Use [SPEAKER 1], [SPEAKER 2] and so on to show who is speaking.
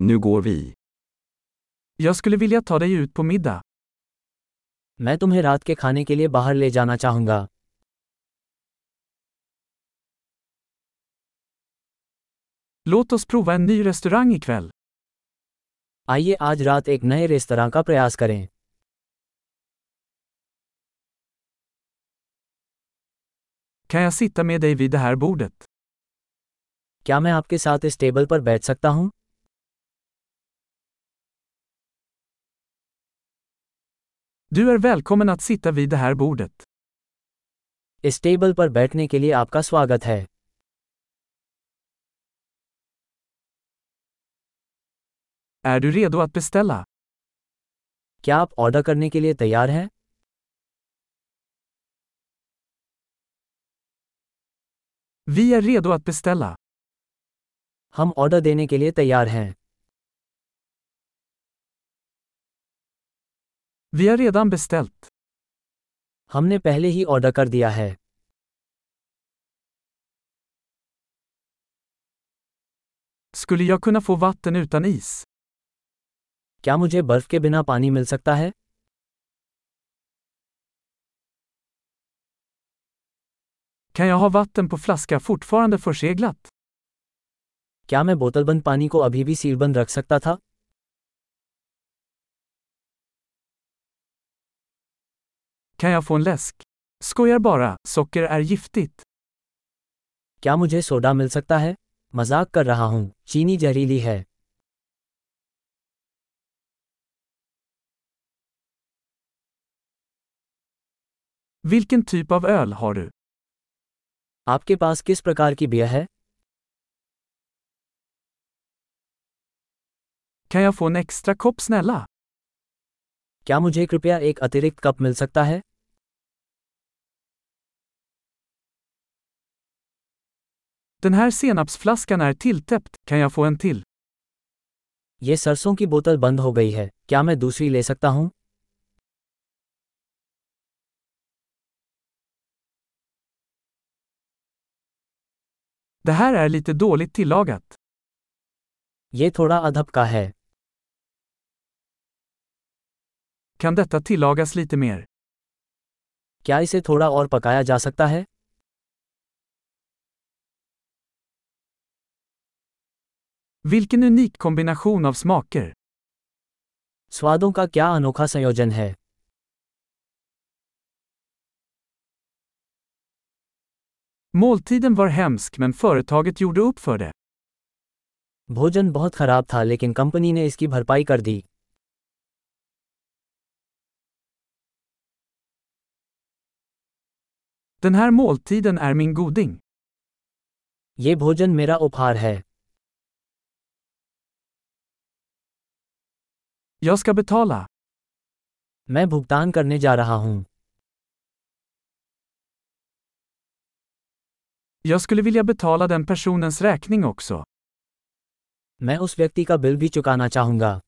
[SPEAKER 1] Nu går vi.
[SPEAKER 2] Jag skulle vilja ta dig ut på middag.
[SPEAKER 3] मैं तुम्हें रात के खाने के लिए बाहर ले जाना चाहूंगा
[SPEAKER 2] Låt oss prova en ny restaurang ikväll.
[SPEAKER 3] आइए आज रात एक नए रेस्तरां का प्रयास करें
[SPEAKER 2] Kan jag sitta med dig vid det här bordet?
[SPEAKER 3] क्या मैं आपके साथ इस टेबल पर बैठ सकता हूँ
[SPEAKER 2] Du är välkommen att sitta vid det här bordet.
[SPEAKER 3] इस टेबल पर बैठने के लिए आपका स्वागत है
[SPEAKER 2] Är du redo att beställa?
[SPEAKER 3] क्या आप ऑर्डर करने के लिए तैयार हैं
[SPEAKER 2] Vi är redo att beställa.
[SPEAKER 3] हम ऑर्डर देने के लिए तैयार हैं
[SPEAKER 2] Vi har redan beställt.
[SPEAKER 3] हमने पहले ही ऑर्डर कर दिया है
[SPEAKER 2] Skulle jag kunna få vatten utan is?
[SPEAKER 3] क्या मुझे बर्फ के बिना पानी मिल सकता है
[SPEAKER 2] Kan jag ha vatten på flaska fortfarande förseglat?
[SPEAKER 3] क्या मैं बोतलबंद पानी को अभी भी सीलबंद रख सकता था
[SPEAKER 2] Kan jag få en läsk? Skojar bara, socker är giftigt.
[SPEAKER 3] क्या मुझे सोडा मिल सकता है मजाक कर रहा हूँ चीनी जहरीली है
[SPEAKER 2] Vilken typ av öl har du?
[SPEAKER 3] आपके पास किस प्रकार की बियर है
[SPEAKER 2] Kan jag få en extra kopp snälla?
[SPEAKER 3] क्या मुझे कृपया एक अतिरिक्त कप मिल सकता है
[SPEAKER 2] Den här senapsflaskan är tilltäppt, kan jag få en till?
[SPEAKER 3] ये सरसों की बोतल बंद हो गई है क्या मैं दूसरी ले सकता हूँ
[SPEAKER 2] Det här är lite dåligt tillagat.
[SPEAKER 3] ये थोड़ा अधब का है
[SPEAKER 2] Kan detta tillagas lite mer?
[SPEAKER 3] क्या इसे थोड़ा और पकाया जा सकता है
[SPEAKER 2] Vilken unik kombination av smaker!
[SPEAKER 3] स्वादों का क्या अनोखा संयोजन है
[SPEAKER 2] Måltiden var hemsk men företaget gjorde upp för det.
[SPEAKER 3] भोजन बहुत खराब था लेकिन कंपनी ने इसकी भरपाई कर दी
[SPEAKER 2] Den här måltiden är min goding.
[SPEAKER 3] ये भोजन मेरा उपहार है
[SPEAKER 2] Jag ska betala.
[SPEAKER 3] मैं भुगतान करने जा रहा हूँ
[SPEAKER 2] Jag skulle vilja betala den personens räkning också.
[SPEAKER 3] मैं उस व्यक्ति का बिल भी चुकाना चाहूंगा